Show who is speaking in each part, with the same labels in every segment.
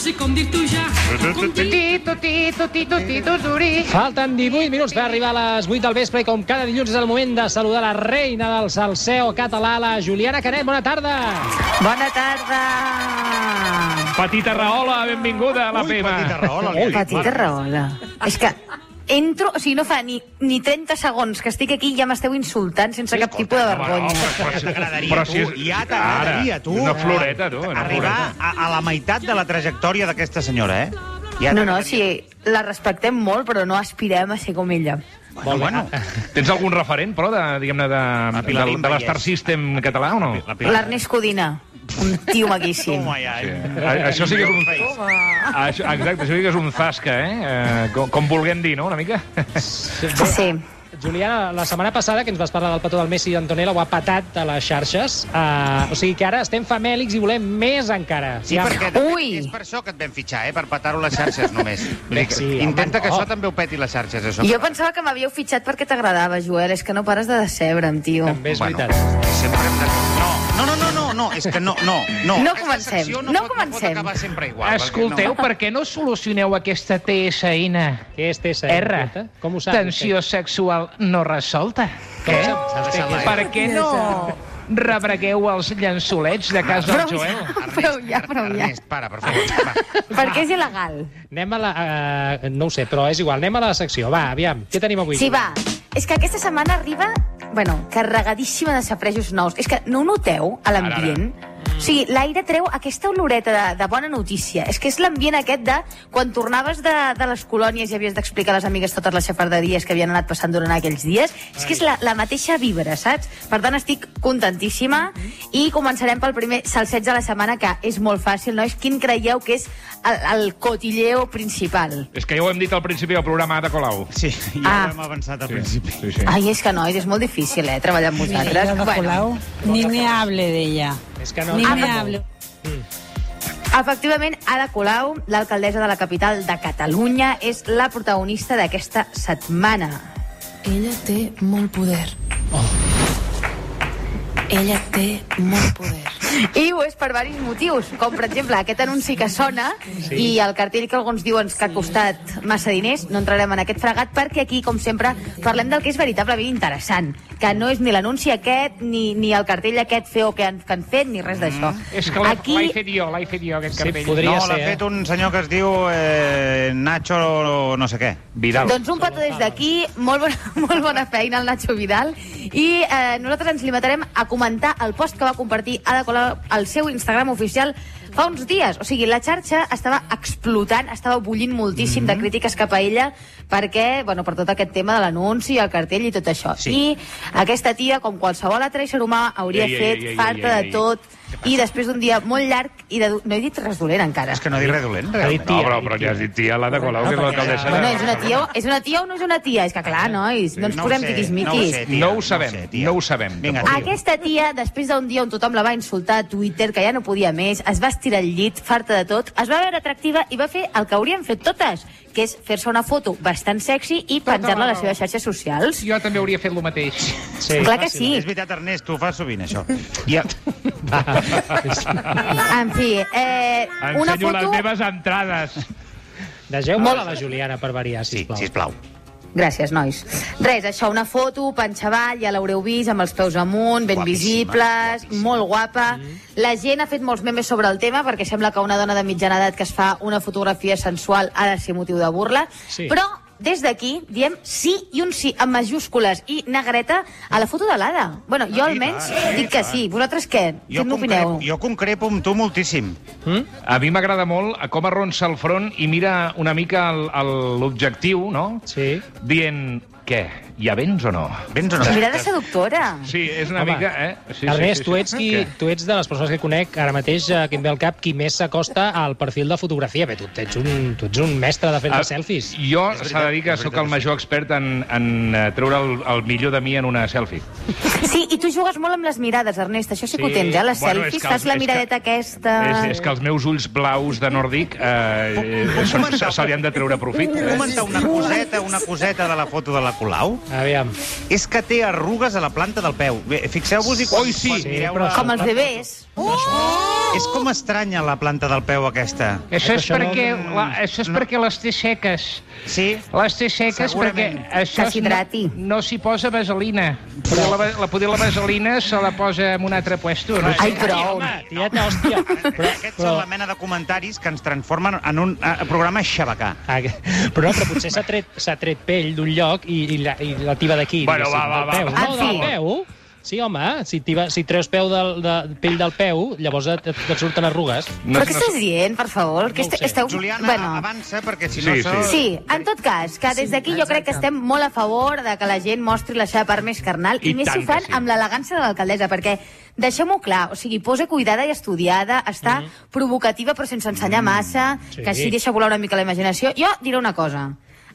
Speaker 1: sé com dir-t'ho ja. Em No com dir-
Speaker 2: Tito, tito, tito,
Speaker 3: Eh.
Speaker 2: tito, duri.
Speaker 4: Falten 18 minuts per arribar a les 8 del vespre i com cada dilluns és el moment de saludar la reina del salseo català, la Juliana Canet. Bona tarda!
Speaker 5: Bona tarda.
Speaker 6: Petita
Speaker 7: Ah,
Speaker 6: Rahola, benvinguda a la PEMA.
Speaker 3: Petita Rahola, li ha dit.
Speaker 5: Petita Rahola. És que entro, o sigui, no fa ni, ni 30 segons que estic aquí i ja m'esteu insultant sense cap tipus de vergonya.
Speaker 3: però si t'agradaria
Speaker 6: Però
Speaker 3: tu,
Speaker 6: si és-
Speaker 3: ja t'agradaria
Speaker 6: Ara,
Speaker 3: tu. eh?
Speaker 6: una floreta, tu, una
Speaker 3: Arribar
Speaker 6: floreta.
Speaker 3: a, a la meitat de la trajectòria d'aquesta senyora, eh? Ja
Speaker 5: No, no,
Speaker 3: t'agradaria.
Speaker 5: sí, la respectem molt, però no aspirem a ser com ella.
Speaker 3: Bueno, bueno.
Speaker 6: Tens algun referent, però, de, diguem-ne, de, de,
Speaker 3: Pilar
Speaker 6: de, de
Speaker 3: Vallès.
Speaker 6: l'Star System català o no? La,
Speaker 5: L'Ernest Codina, un tio maquíssim.
Speaker 3: Toma, ja.
Speaker 6: Això sí que és un... Això, exacte, això sí que és un zasca, eh? eh com, com vulguem dir, no?, una mica?
Speaker 5: Sí.
Speaker 4: Juliana, la setmana passada que ens vas parlar del petó del Messi i Antonella ho ha patat a les xarxes. Uh, o sigui que ara estem famèlics i volem més encara.
Speaker 3: Sí, perquè
Speaker 5: Ui!
Speaker 3: és per això que et vam fitxar, eh? per petar-ho a les xarxes només. Vull dir que
Speaker 4: Sí, home,
Speaker 3: intenta que
Speaker 4: no.
Speaker 3: això també ho peti les xarxes, això.
Speaker 5: Jo pensava que m'havíeu fitxat perquè t'agradava, Joel. És que no pares de decebre'm, tio.
Speaker 4: També és veritat.
Speaker 3: Sempre hem de... No, no, no, no, no, és que no, no. No,
Speaker 5: No
Speaker 3: Aquesta
Speaker 5: comencem,
Speaker 3: secció
Speaker 5: no
Speaker 3: pot, No
Speaker 5: comencem.
Speaker 3: pot acabar sempre igual. perquè
Speaker 7: Escolteu,
Speaker 3: No.
Speaker 7: per què no solucioneu aquesta TSN?
Speaker 4: Què és TSN?
Speaker 7: R.
Speaker 4: Com ho saps?
Speaker 7: Tensió sexual no resolta.
Speaker 4: Què?
Speaker 7: Per què no rebregueu els llençolets de casa del Doncs,
Speaker 5: Prou
Speaker 7: Joel?
Speaker 5: ja, prou ja, prou ja.
Speaker 3: Ernest, para, per favor. Va.
Speaker 5: Perquè és il·legal.
Speaker 4: Anem a la... Uh, no ho sé, però és igual. Anem a la secció. Va, aviam. Què tenim avui?
Speaker 5: Sí, va. És que aquesta setmana arriba, bueno, carregadíssima de saprejos nous. És que no ho noteu, a l'ambient? O sigui, l'aire treu aquesta oloreta de, de bona notícia. És que és l'ambient aquest de quan tornaves de, de les colònies i havies d'explicar a les amigues totes les xafarderies que havien anat passant durant aquells dies. És que és la, la mateixa vibra, saps? Per tant, estic contentíssima i començarem pel primer salseig de la setmana, que és molt fàcil, nois. Quin creieu que és el, el cotilleo principal?
Speaker 6: És que ja ho hem dit al principi del programa de Colau.
Speaker 3: Sí, ja
Speaker 5: Ah.
Speaker 3: ho hem avançat al principi.
Speaker 6: Sí, sí.
Speaker 5: Ai, és que, nois, és molt difícil, eh, treballar amb vosaltres. Bueno,
Speaker 8: ni me hable de ella.
Speaker 4: És que no...
Speaker 8: Ni
Speaker 4: Ah,
Speaker 8: me
Speaker 4: no.
Speaker 8: hable.
Speaker 5: efectivament, Ada Colau, l'alcaldessa de la capital de Catalunya, és la protagonista d'aquesta setmana.
Speaker 9: Ella té molt poder. Ella té molt poder.
Speaker 5: I ho és per diversos motius, com, per exemple, aquest anunci que sona sí. i el cartell que alguns diuen que ha costat massa diners. No entrarem en aquest fregat perquè aquí, com sempre, parlem del que és veritablement interessant, que no és ni l'anunci aquest, ni, ni el cartell aquest feo que han, que han fet, ni res d'això.
Speaker 7: És que l'he l'he fet jo, l'he fet jo, aquest
Speaker 4: Sí,
Speaker 7: cartell.
Speaker 4: podria
Speaker 3: no, l'ha
Speaker 4: ser, eh?
Speaker 3: fet un senyor que es diu eh, Nacho no sé què.
Speaker 6: Vidal.
Speaker 5: Doncs un petó des d'aquí, molt bona, molt bona feina al Nacho Vidal, i eh, nosaltres ens limitarem a comentar el post que va compartir Ada Colau al seu Instagram oficial fa uns dies. O sigui, la xarxa estava explotant, estava bullint moltíssim mm
Speaker 6: Mhm.
Speaker 5: -hmm. de crítiques cap a ella perquè, bueno, per tot aquest tema de l'anunci, el cartell i tot això.
Speaker 3: Sí.
Speaker 5: I aquesta tia, com qualsevol altre ésser humà, hauria
Speaker 6: Ei, ei,
Speaker 5: fet
Speaker 6: ei, ei,
Speaker 5: falta
Speaker 6: ei, ei,
Speaker 5: de
Speaker 6: ei.
Speaker 5: tot i després d'un dia molt llarg i de... du- No he dit res dolent encara.
Speaker 3: És que no dic res dolent,
Speaker 4: Ha
Speaker 3: realment.
Speaker 4: dit
Speaker 6: No, però, però ja has dit tia, la de Colau, que és l'alcaldessa
Speaker 5: Bueno,
Speaker 6: de...
Speaker 5: és una tia, o- és una tia o no és una tia? És que clar, nois, no ens
Speaker 3: ho
Speaker 5: posem
Speaker 3: sé,
Speaker 5: Doncs tiquismiquis.
Speaker 3: sé,
Speaker 6: No ho sabem,
Speaker 3: tia.
Speaker 6: no ho sabem,
Speaker 3: Vinga,
Speaker 6: tampoc.
Speaker 3: tio.
Speaker 5: Aquesta tia, després d'un dia on tothom la va insultar a Twitter, que ja no podia més, es va estirar el llit, farta de tot, es va veure atractiva i va fer el que haurien fet totes, que és fer-se una foto bastant sexy i penjar-la a les seves xarxes socials.
Speaker 7: Jo també hauria fet el mateix.
Speaker 4: Sí,
Speaker 5: Clar que
Speaker 4: fàcil.
Speaker 5: sí.
Speaker 3: És veritat, Ernest, tu ho fas sovint, això. Ja.
Speaker 5: En fi, eh, una
Speaker 6: Ensenyo les
Speaker 5: foto...
Speaker 6: meves entrades.
Speaker 4: Deixeu-me-la, la Juliana, per variar,
Speaker 3: Sí,
Speaker 4: sisplau.
Speaker 3: sisplau.
Speaker 5: Gràcies, nois. Res, això, una foto, panxa avall, ja l'haureu vist, amb els peus amunt, ben
Speaker 3: Guapíssima,
Speaker 5: visibles,
Speaker 3: guapíssima.
Speaker 5: molt guapa.
Speaker 6: Mm.
Speaker 5: La gent ha fet molts memes sobre el tema, perquè sembla que una dona de mitjana edat que es fa una fotografia sensual ha de ser motiu de burla.
Speaker 4: Sí.
Speaker 5: Però des d'aquí diem sí i un sí amb majúscules i negreta a la foto de l'Ada. Bueno, jo
Speaker 6: Ah,
Speaker 3: i
Speaker 5: almenys
Speaker 3: tant, i
Speaker 5: dic que
Speaker 3: tant.
Speaker 5: sí. Vosaltres què?
Speaker 3: Jo
Speaker 5: Què n'opineu?
Speaker 3: concrepo, jo concrepo amb tu moltíssim.
Speaker 4: Hm?
Speaker 6: A mi m'agrada molt com arronsa el front i mira una mica el- el- l'objectiu, no?
Speaker 4: Sí.
Speaker 6: Dient, què, ja vens o no?
Speaker 3: Vens o no?
Speaker 5: Mirada seductora.
Speaker 6: Sí, és una
Speaker 4: Home,
Speaker 6: mica... Eh? Sí,
Speaker 4: Ernest, tu ets, qui,
Speaker 6: Què?
Speaker 4: tu ets de les persones que conec ara mateix, eh, que em ve al cap, qui més s'acosta al perfil de fotografia. Bé, tu ets un, tu ets un mestre de fer
Speaker 6: Ah,
Speaker 4: ah, selfies.
Speaker 6: Jo s'ha de dir que sóc el major expert en, en eh, treure el, el millor de mi en una selfie.
Speaker 5: Sí, i tu jugues molt amb les mirades, Ernest. Això sí que ho tens, eh? Les
Speaker 6: Bueno, és
Speaker 5: selfies,
Speaker 6: que
Speaker 5: fas
Speaker 6: els-
Speaker 5: la
Speaker 6: és que-
Speaker 5: miradeta aquesta...
Speaker 6: És, és que els meus ulls blaus de nòrdic eh, eh, són- se, se li han de treure profit.
Speaker 3: Comenta una coseta, una coseta de la foto de la Colau?
Speaker 4: Aviam.
Speaker 3: És que té arrugues a la planta del peu. Bé, Fixeu-vos-hi quan,
Speaker 6: Oi, sí.
Speaker 3: quan
Speaker 6: Sí,
Speaker 3: mireu
Speaker 4: però
Speaker 3: la...
Speaker 5: Com els bebès.
Speaker 3: És com estranya la planta del peu aquesta.
Speaker 7: Això és,
Speaker 4: Això no-
Speaker 7: perquè, la, això és
Speaker 3: no.
Speaker 7: perquè les té seques.
Speaker 3: Sí?
Speaker 7: Les té seques perquè
Speaker 3: Segurament.
Speaker 7: això
Speaker 5: Que
Speaker 7: es-
Speaker 5: s'hidrati.
Speaker 7: no, no s'hi posa vaselina. Però la, ve- la, poder la vaselina se la posa en un altre puesto. No?
Speaker 5: Ai, prou.
Speaker 4: Home, tieta, hòstia. Però,
Speaker 3: Aquests
Speaker 4: però,
Speaker 3: són la mena de comentaris que ens transformen en un eh, programa xabacà.
Speaker 4: Ah, que- però no, però potser s'ha tret, s'ha tret pell d'un lloc i, i, la, i la tiba d'aquí.
Speaker 6: Bueno,
Speaker 4: diguéssim,
Speaker 6: va, va,
Speaker 4: del
Speaker 6: va,
Speaker 4: peu.
Speaker 6: va.
Speaker 4: No,
Speaker 5: Ah,
Speaker 4: del
Speaker 5: sí.
Speaker 4: peu. Sí, home, si, tiba, si treus peu del, de, pell del peu, llavors et, et, et surten arrugues.
Speaker 5: Però què estàs dient, per favor? Que
Speaker 4: No ho
Speaker 5: est-
Speaker 4: sé.
Speaker 5: esteu...
Speaker 3: Juliana, bueno. avança, perquè si no...
Speaker 6: Sí,
Speaker 3: això-
Speaker 5: Sí, en tot cas, que des d'aquí jo crec que estem molt a favor de que la gent mostri la seva part més carnal i,
Speaker 6: I
Speaker 5: més
Speaker 6: tant
Speaker 5: si ho fan
Speaker 6: que sí.
Speaker 5: amb l'elegància de l'alcaldessa, perquè deixem-ho clar, o sigui, posa cuidada i estudiada, està
Speaker 6: Mhm.
Speaker 5: provocativa però sense
Speaker 6: Mm,
Speaker 5: ensenyar massa,
Speaker 4: Sí.
Speaker 5: que així deixa volar una mica la imaginació. Jo diré una cosa,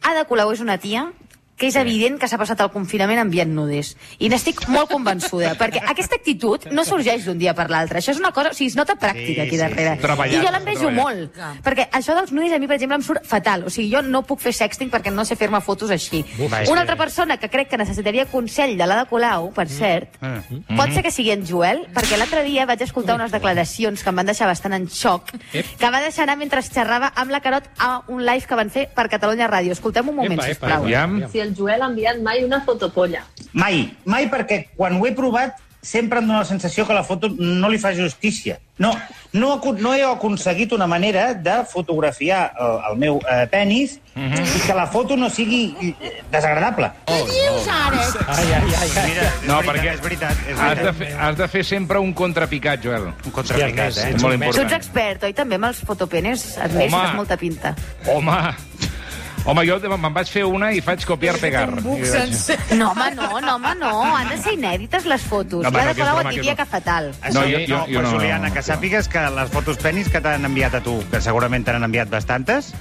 Speaker 5: Ada Colau és una tia que és evident que s'ha passat el confinament enviant nudes. I n'estic molt convençuda, perquè aquesta actitud no sorgeix d'un dia per l'altre. Això és una cosa... O sigui, es nota pràctica
Speaker 3: Sí,
Speaker 5: aquí
Speaker 3: sí,
Speaker 5: darrere.
Speaker 6: sí. Treballat,
Speaker 5: I jo l'envejo
Speaker 6: treballat.
Speaker 5: molt molt. Perquè això dels nudes a mi, per exemple, em surt fatal. O sigui, jo no puc fer sexting perquè no sé fer-me fotos així.
Speaker 3: vaja.
Speaker 5: Una altra persona que crec que necessitaria consell de l'Ada Colau, per cert,
Speaker 3: Mm.
Speaker 5: pot ser que sigui en Joel, perquè l'altre dia vaig escoltar unes declaracions que em van deixar bastant en xoc, que va deixar anar mentre xerrava amb la Carot a un live que van fer per Catalunya Ràdio. Escoltem un moment,
Speaker 4: Epa, epa,
Speaker 5: sisplau.
Speaker 4: epa.
Speaker 6: Aviam.
Speaker 10: si el Joel ha enviat mai una fotopolla.
Speaker 11: Mai, mai perquè quan ho he provat sempre em dóna la sensació que la foto no li fa justícia. No, no, aco- no he aconseguit una manera de fotografiar el, el meu eh, penis mm
Speaker 3: Mhm.
Speaker 11: -hmm. i que la foto no sigui eh, desagradable.
Speaker 4: Ai, ai, ai, ai.
Speaker 3: Oh, Mira, és
Speaker 6: No,
Speaker 3: veritat,
Speaker 6: perquè-
Speaker 3: és veritat, és
Speaker 6: Has de,
Speaker 3: veritat.
Speaker 6: fer, has de fer sempre un contrapicat, Joel.
Speaker 3: Un contrapicat, eh?
Speaker 6: És molt
Speaker 5: Tu ets
Speaker 6: important.
Speaker 5: expert, oi, també, amb els fotopenes? Admets,
Speaker 6: Home.
Speaker 5: tens molta pinta.
Speaker 6: Home, home, jo de- me'n vaig fer una i faig copiar-pegar.
Speaker 5: No, home, no, no, home, no. Han de ser inèdites, les fotos.
Speaker 6: No, home,
Speaker 5: L'Ada
Speaker 6: no, que és
Speaker 5: Colau
Speaker 6: broma,
Speaker 5: et
Speaker 6: que és
Speaker 5: diria que
Speaker 6: broma.
Speaker 5: fatal.
Speaker 3: Això, no, jo, jo,
Speaker 6: jo
Speaker 3: no,
Speaker 6: no,
Speaker 3: Juliana,
Speaker 6: no,
Speaker 3: que
Speaker 6: jo.
Speaker 3: sàpigues que les fotos penis que t'han enviat a tu, que segurament t'han enviat bastantes,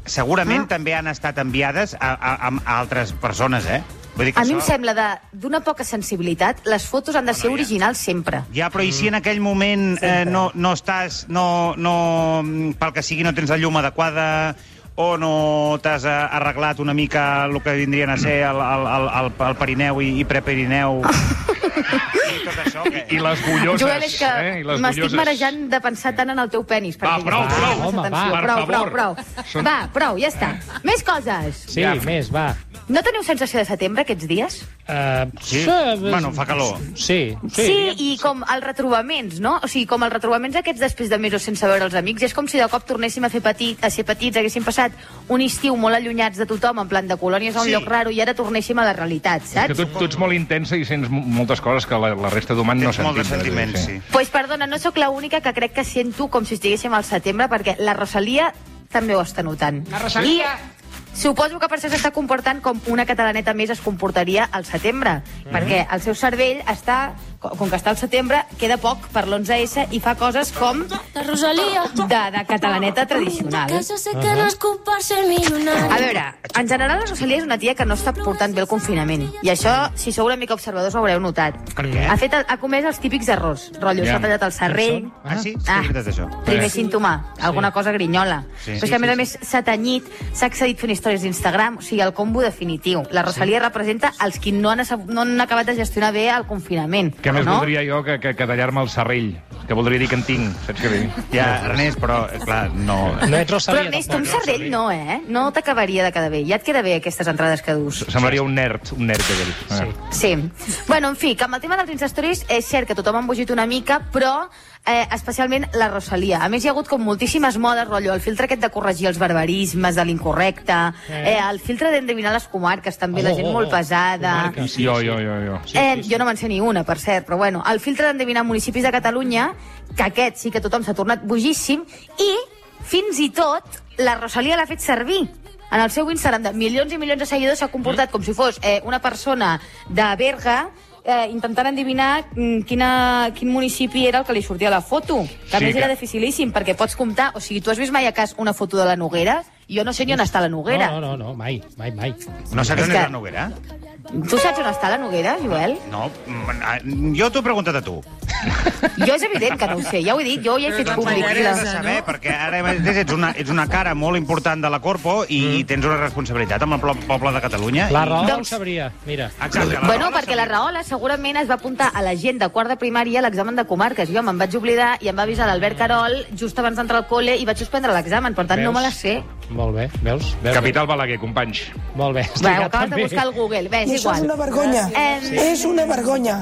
Speaker 5: Ah.
Speaker 3: segurament també han estat enviades a, a, a, a altres persones, eh? Vull dir
Speaker 5: A mi em sembla de d'una poca sensibilitat, les fotos han de ser
Speaker 3: ja.
Speaker 5: originals sempre.
Speaker 3: Ja, però i si en aquell moment eh, no, no estàs, no, no, mm, pel que sigui no tens la llum adequada o no t'has eh, arreglat una mica el que vindrien a ser el, el, el, el, el Perineu i, i Preperineu i tot això, que...
Speaker 6: I les gulloses,
Speaker 5: Joel, és que
Speaker 6: eh? I les
Speaker 5: m'estic
Speaker 6: gulloses.
Speaker 5: marejant de pensar tant en el teu penis.
Speaker 6: Va,
Speaker 5: perquè
Speaker 6: prou,
Speaker 5: jo estic
Speaker 6: prou,
Speaker 5: massa
Speaker 4: home,
Speaker 5: tensió.
Speaker 6: va,
Speaker 5: prou,
Speaker 6: per
Speaker 5: prou,
Speaker 6: favor.
Speaker 5: prou.
Speaker 6: Són-
Speaker 5: Va, prou, ja està. Més coses.
Speaker 4: Sí,
Speaker 6: Ja.
Speaker 4: més, va.
Speaker 5: No teniu sensació de setembre aquests dies?
Speaker 4: Uh,
Speaker 3: Sí? Bueno, fa calor.
Speaker 4: Sí, sí.
Speaker 5: i com els retrobaments, no? O sigui, com els retrobaments aquests després de mesos sense veure els amics, és com si de cop tornéssim a fer petit, a ser petits, haguéssim passat un estiu molt allunyats de tothom, en plan de colònies a un
Speaker 3: Sí.
Speaker 5: lloc raro, i ara tornéssim a la realitat,
Speaker 6: És que
Speaker 5: saps?
Speaker 6: tu, tu ets molt intensa i sents mo- moltes coses que la, la resta d'humans no
Speaker 3: Tens
Speaker 6: sentim. eh,
Speaker 3: molt de sentiments, sí.
Speaker 5: Pues perdona, no sóc la única que crec que sento com si estiguéssim al setembre, perquè la Rosalia també ho està notant. La Rosalia! I suposo que per això s'està comportant com una catalaneta més es comportaria al setembre, perquè el seu cervell està, co- com que està al setembre, queda poc per l'11S i fa coses com
Speaker 9: La Rosalía.
Speaker 5: de, de catalaneta tradicional.
Speaker 9: Que se sequen els compars en mi
Speaker 5: A
Speaker 9: lunar.
Speaker 5: veure, en general la Rosalia és una tia que no està portant bé el confinament. I això, si sou una mica observadors, ho haureu notat.
Speaker 3: Per què?
Speaker 5: Ha, fet, ha comès els típics errors. Rotllo,
Speaker 6: Ja.
Speaker 5: s'ha tallat el serrell,
Speaker 3: Ah, sí? És que
Speaker 5: Ah.
Speaker 3: és veritat, això.
Speaker 5: primer
Speaker 6: Sí.
Speaker 5: símptoma, alguna cosa grinyola.
Speaker 3: Sí.
Speaker 5: Però és que, a més a més, s'ha tenyit, s'ha accedit fent històries d'Instagram, o sigui, el combo definitiu. La Rosalia representa els que no han, assab- no han acabat de gestionar bé el confinament.
Speaker 6: Què més
Speaker 5: no?
Speaker 6: voldria jo que, que, que tallar-me el serrell? Que voldria dir que en tinc, saps què dir?
Speaker 3: Ja, Ernest, però, eh, clar, no...
Speaker 4: No ets Rosalia,
Speaker 5: Però, Ernest, tu
Speaker 4: tampoc.
Speaker 5: amb serrell no, eh? No t'acabaria de quedar bé. Ja et queda bé aquestes entrades que dus.
Speaker 6: Semblaria un nerd, un nerd Ah. d'aquell. Sí.
Speaker 5: Sí. Bueno, en fi, que amb el tema dels Instastories és cert que tothom ha embogit una mica, però eh, especialment la Rosalia. A més, hi ha hagut com moltíssimes modes, rotllo, el filtre aquest de corregir els barbarismes, de l'incorrecte, eh, el filtre d'endevinar les comarques, també, la
Speaker 4: Oh,
Speaker 5: gent
Speaker 4: oh,
Speaker 5: molt
Speaker 4: oh.
Speaker 5: pesada...
Speaker 4: Comarques.
Speaker 6: Jo, jo, jo, jo.
Speaker 5: Eh, jo no me'n sé ni una, per cert, però bueno, el filtre d'endevinar municipis de Catalunya, que aquest sí que tothom s'ha tornat bogíssim, i fins i tot la Rosalia l'ha fet servir. En el seu Instagram de milions i milions de seguidors s'ha
Speaker 6: Mm.
Speaker 5: comportat com si fos eh, una persona de Berga eh, intentant endevinar mm, quina, quin municipi era el que li sortia a la foto. Que a
Speaker 6: Sí,
Speaker 5: més era
Speaker 6: que-
Speaker 5: dificilíssim, perquè pots comptar... O sigui, tu has vist mai a cas una foto de la Noguera? Jo no sé ni on està la Noguera.
Speaker 4: No, no, no, mai, mai, mai.
Speaker 3: No saps
Speaker 5: És
Speaker 3: on és
Speaker 5: que-
Speaker 3: la Noguera?
Speaker 5: Tu saps on està la Noguera, Joel?
Speaker 3: No, mm, ah, jo t'ho he preguntat a tu.
Speaker 5: Jo és evident que no ho sé, ja ho he dit, jo ja he fet públic.
Speaker 3: M'agradaria de saber,
Speaker 5: La...
Speaker 3: perquè ara mateix ets una, ets una cara molt important de la Corpo i mm. tens una responsabilitat amb el plo- poble de Catalunya.
Speaker 4: La
Speaker 3: i-
Speaker 4: raó
Speaker 3: Doncs-
Speaker 4: ho sabria, mira.
Speaker 3: Exacte, la
Speaker 5: Bueno,
Speaker 3: raó
Speaker 5: perquè la Rahola segurament es va apuntar a la gent de quart de primària a l'examen de comarques. Jo me'n vaig oblidar i em va avisar l'Albert Carol just abans d'entrar al col·le i vaig suspendre l'examen, per tant no
Speaker 4: Veus?
Speaker 5: me la sé.
Speaker 4: Molt bé, veus? veus?
Speaker 6: Capital Balaguer, companys.
Speaker 4: Molt bé.
Speaker 5: Va,
Speaker 4: explicat
Speaker 5: ho acabes de
Speaker 4: també.
Speaker 5: buscar al Google, bé, és
Speaker 12: Eso
Speaker 5: igual.
Speaker 12: es una vergonya.
Speaker 5: Em,
Speaker 12: És una vergonya.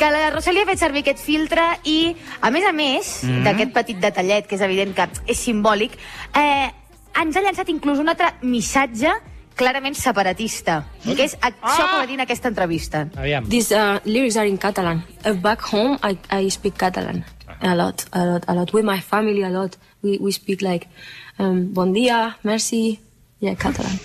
Speaker 5: que la Rosalia ha fet servir aquest filtre i, a més a més, mm
Speaker 12: Mhm.
Speaker 5: -hmm. d'aquest petit detallet, que és evident que és simbòlic, eh, ens ha llançat inclús un altre missatge clarament separatista, que és això
Speaker 3: Ah!
Speaker 5: que va dir en aquesta entrevista.
Speaker 4: Aviam.
Speaker 13: These uh, lyrics are in Catalan. Uh, back home, I, I speak Catalan a lot, a lot, a lot. With my family, a lot. We, we speak like um, bon dia, merci, yeah, Catalan.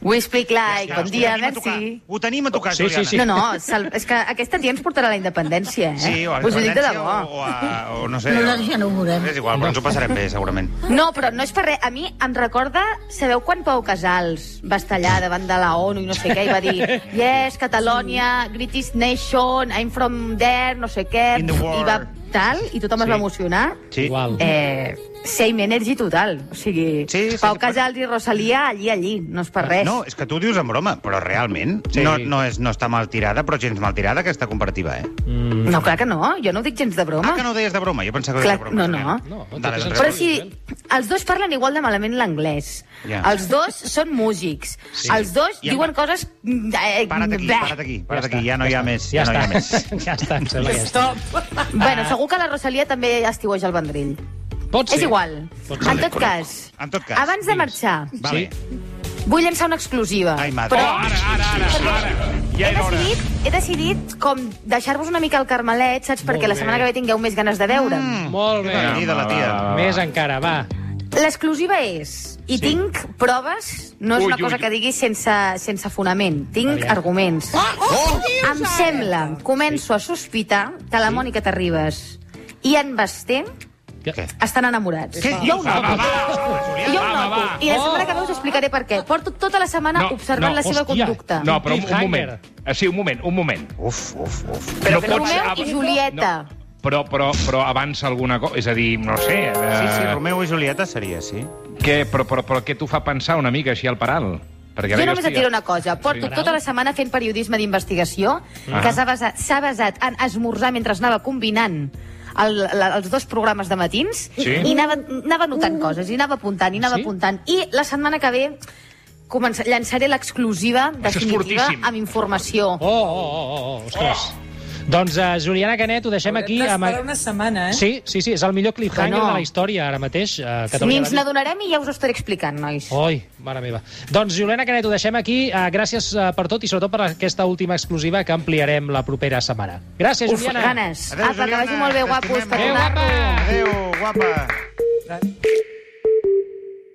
Speaker 5: We speak like, bon dia, merci.
Speaker 3: Ho tenim a tocar, Juliana.
Speaker 5: No, no, sal, és que aquesta tia ens portarà a la independència, eh?
Speaker 3: Sí, o a la
Speaker 5: Us ho dic de
Speaker 3: independència
Speaker 5: debò.
Speaker 3: o, a, o no sé.
Speaker 5: Nosaltres
Speaker 3: ja no ho veurem. És igual, però ens ho passarem bé, segurament.
Speaker 5: No, però no és per res. A mi em recorda, sabeu quan Pau Casals va estar allà davant de la ONU i no sé què, i va dir Yes, Catalonia, greatest nation, I'm from there, no sé què,
Speaker 14: In the
Speaker 5: i va tal, i tothom es va emocionar.
Speaker 3: Sí.
Speaker 4: Igual.
Speaker 5: Eh, same energy total. O sigui, sí, Pau Casals i Rosalia allí, allí, no és per res.
Speaker 3: No, eh. és que tu ho dius en broma, però realment sí. no, no, és, no està mal tirada, però gens mal tirada aquesta comparativa, eh?
Speaker 5: Mm. No, clar que no, jo no ho dic gens de broma.
Speaker 3: Ah, que no ho deies de broma? Jo pensava que
Speaker 5: Clar,
Speaker 3: ho deies de broma.
Speaker 5: no, no.
Speaker 3: no. Dale, doncs,
Speaker 5: Però si els dos parlen igual de malament l'anglès.
Speaker 3: Ja.
Speaker 5: Yeah. Els dos són músics. Sí.
Speaker 3: Sí.
Speaker 5: Els dos
Speaker 3: I
Speaker 5: I
Speaker 3: em-
Speaker 5: diuen coses... Eh,
Speaker 3: Para't aquí,
Speaker 5: bleh.
Speaker 3: para't aquí, para't aquí, ja no hi ha més.
Speaker 4: Ja
Speaker 3: no hi ha més.
Speaker 4: està. ja està, em sembla que ja està.
Speaker 5: Bueno, segur que la Rosalia també estiueja el Vendrell.
Speaker 4: Ah. Pot
Speaker 5: És
Speaker 4: ser.
Speaker 5: igual.
Speaker 4: Pot ser.
Speaker 5: en, tot cas,
Speaker 3: En tot cas,
Speaker 5: abans de marxar,
Speaker 3: Vale.
Speaker 5: vull llançar una exclusiva. Ai,
Speaker 3: madre.
Speaker 5: Però...
Speaker 3: Oh, ara, ara, ara, ara. Ja
Speaker 5: he
Speaker 3: era hora.
Speaker 5: decidit, he decidit com deixar-vos una mica el Carmelet, saps? Perquè la
Speaker 4: bé. Mm.
Speaker 5: setmana que ve tingueu més ganes de veure'm.
Speaker 4: Molt bé.
Speaker 3: Querida, la tia.
Speaker 4: Va, va, va. Més encara, va.
Speaker 5: L'exclusiva és, i
Speaker 4: Sí.
Speaker 5: sí. tinc proves, no és
Speaker 4: Ui,
Speaker 5: una
Speaker 4: ui,
Speaker 5: cosa
Speaker 4: ui.
Speaker 5: que diguis sense, sense fonament, tinc
Speaker 4: Aviam.
Speaker 5: arguments.
Speaker 4: oh,
Speaker 5: em sembla, començo a sospitar que la Mònica Terribas i en Basté estan enamorats.
Speaker 1: Què
Speaker 5: Jo ho
Speaker 1: dius?
Speaker 5: noto.
Speaker 1: Va,
Speaker 5: Jo ho
Speaker 1: va, va,
Speaker 5: noto.
Speaker 1: va.
Speaker 5: I la setmana
Speaker 1: Oh.
Speaker 5: que ve us explicaré per què. Porto tota la setmana observant la seva conducta.
Speaker 6: No, però un, un moment. Ah, sí, un moment, un moment.
Speaker 3: Uf, uf, uf.
Speaker 6: Però, no pots...
Speaker 5: Romeu i Julieta.
Speaker 6: Però, però, però avança alguna cosa, és a dir, no sé... Eh...
Speaker 3: Sí, sí, Romeu i Julieta seria, sí.
Speaker 6: Què, però, però, però què t'ho fa pensar una mica així al paral? Perquè
Speaker 5: Jo
Speaker 6: ara
Speaker 5: només et diré una cosa. Porto
Speaker 6: Sí.
Speaker 5: tota la setmana fent periodisme d'investigació
Speaker 6: Ah.
Speaker 5: que s'ha basat, s'ha basat en esmorzar mentre anava combinant el, la, els dos programes de matins
Speaker 1: Sí.
Speaker 5: i anava, anava notant coses, i anava apuntant, i anava
Speaker 1: Sí?
Speaker 5: apuntant. I la setmana que ve comença, llançaré l'exclusiva
Speaker 4: és
Speaker 5: definitiva
Speaker 4: fortíssim.
Speaker 5: amb informació.
Speaker 4: Oh, oh, oh, oh, oh ostres. Doncs uh, Juliana Canet, ho deixem aquí.
Speaker 5: d'esperar
Speaker 8: una setmana, eh?
Speaker 4: Sí, sí, sí, és el millor cliffhanger
Speaker 5: Que no.
Speaker 4: de la història ara mateix. Uh,
Speaker 5: Ni ens n'adonarem i ja us ho estaré explicant, nois.
Speaker 4: Oi, mare meva. Doncs, Juliana Canet, ho deixem aquí. Uh, gràcies uh, per tot i sobretot per aquesta última exclusiva que ampliarem la propera setmana. Gràcies,
Speaker 5: Uf,
Speaker 4: Juliana. Ah,
Speaker 5: Ah, ganes. Apa, que vagi molt bé, guapos. Adéu,
Speaker 4: guapa.
Speaker 3: Adéu, guapa.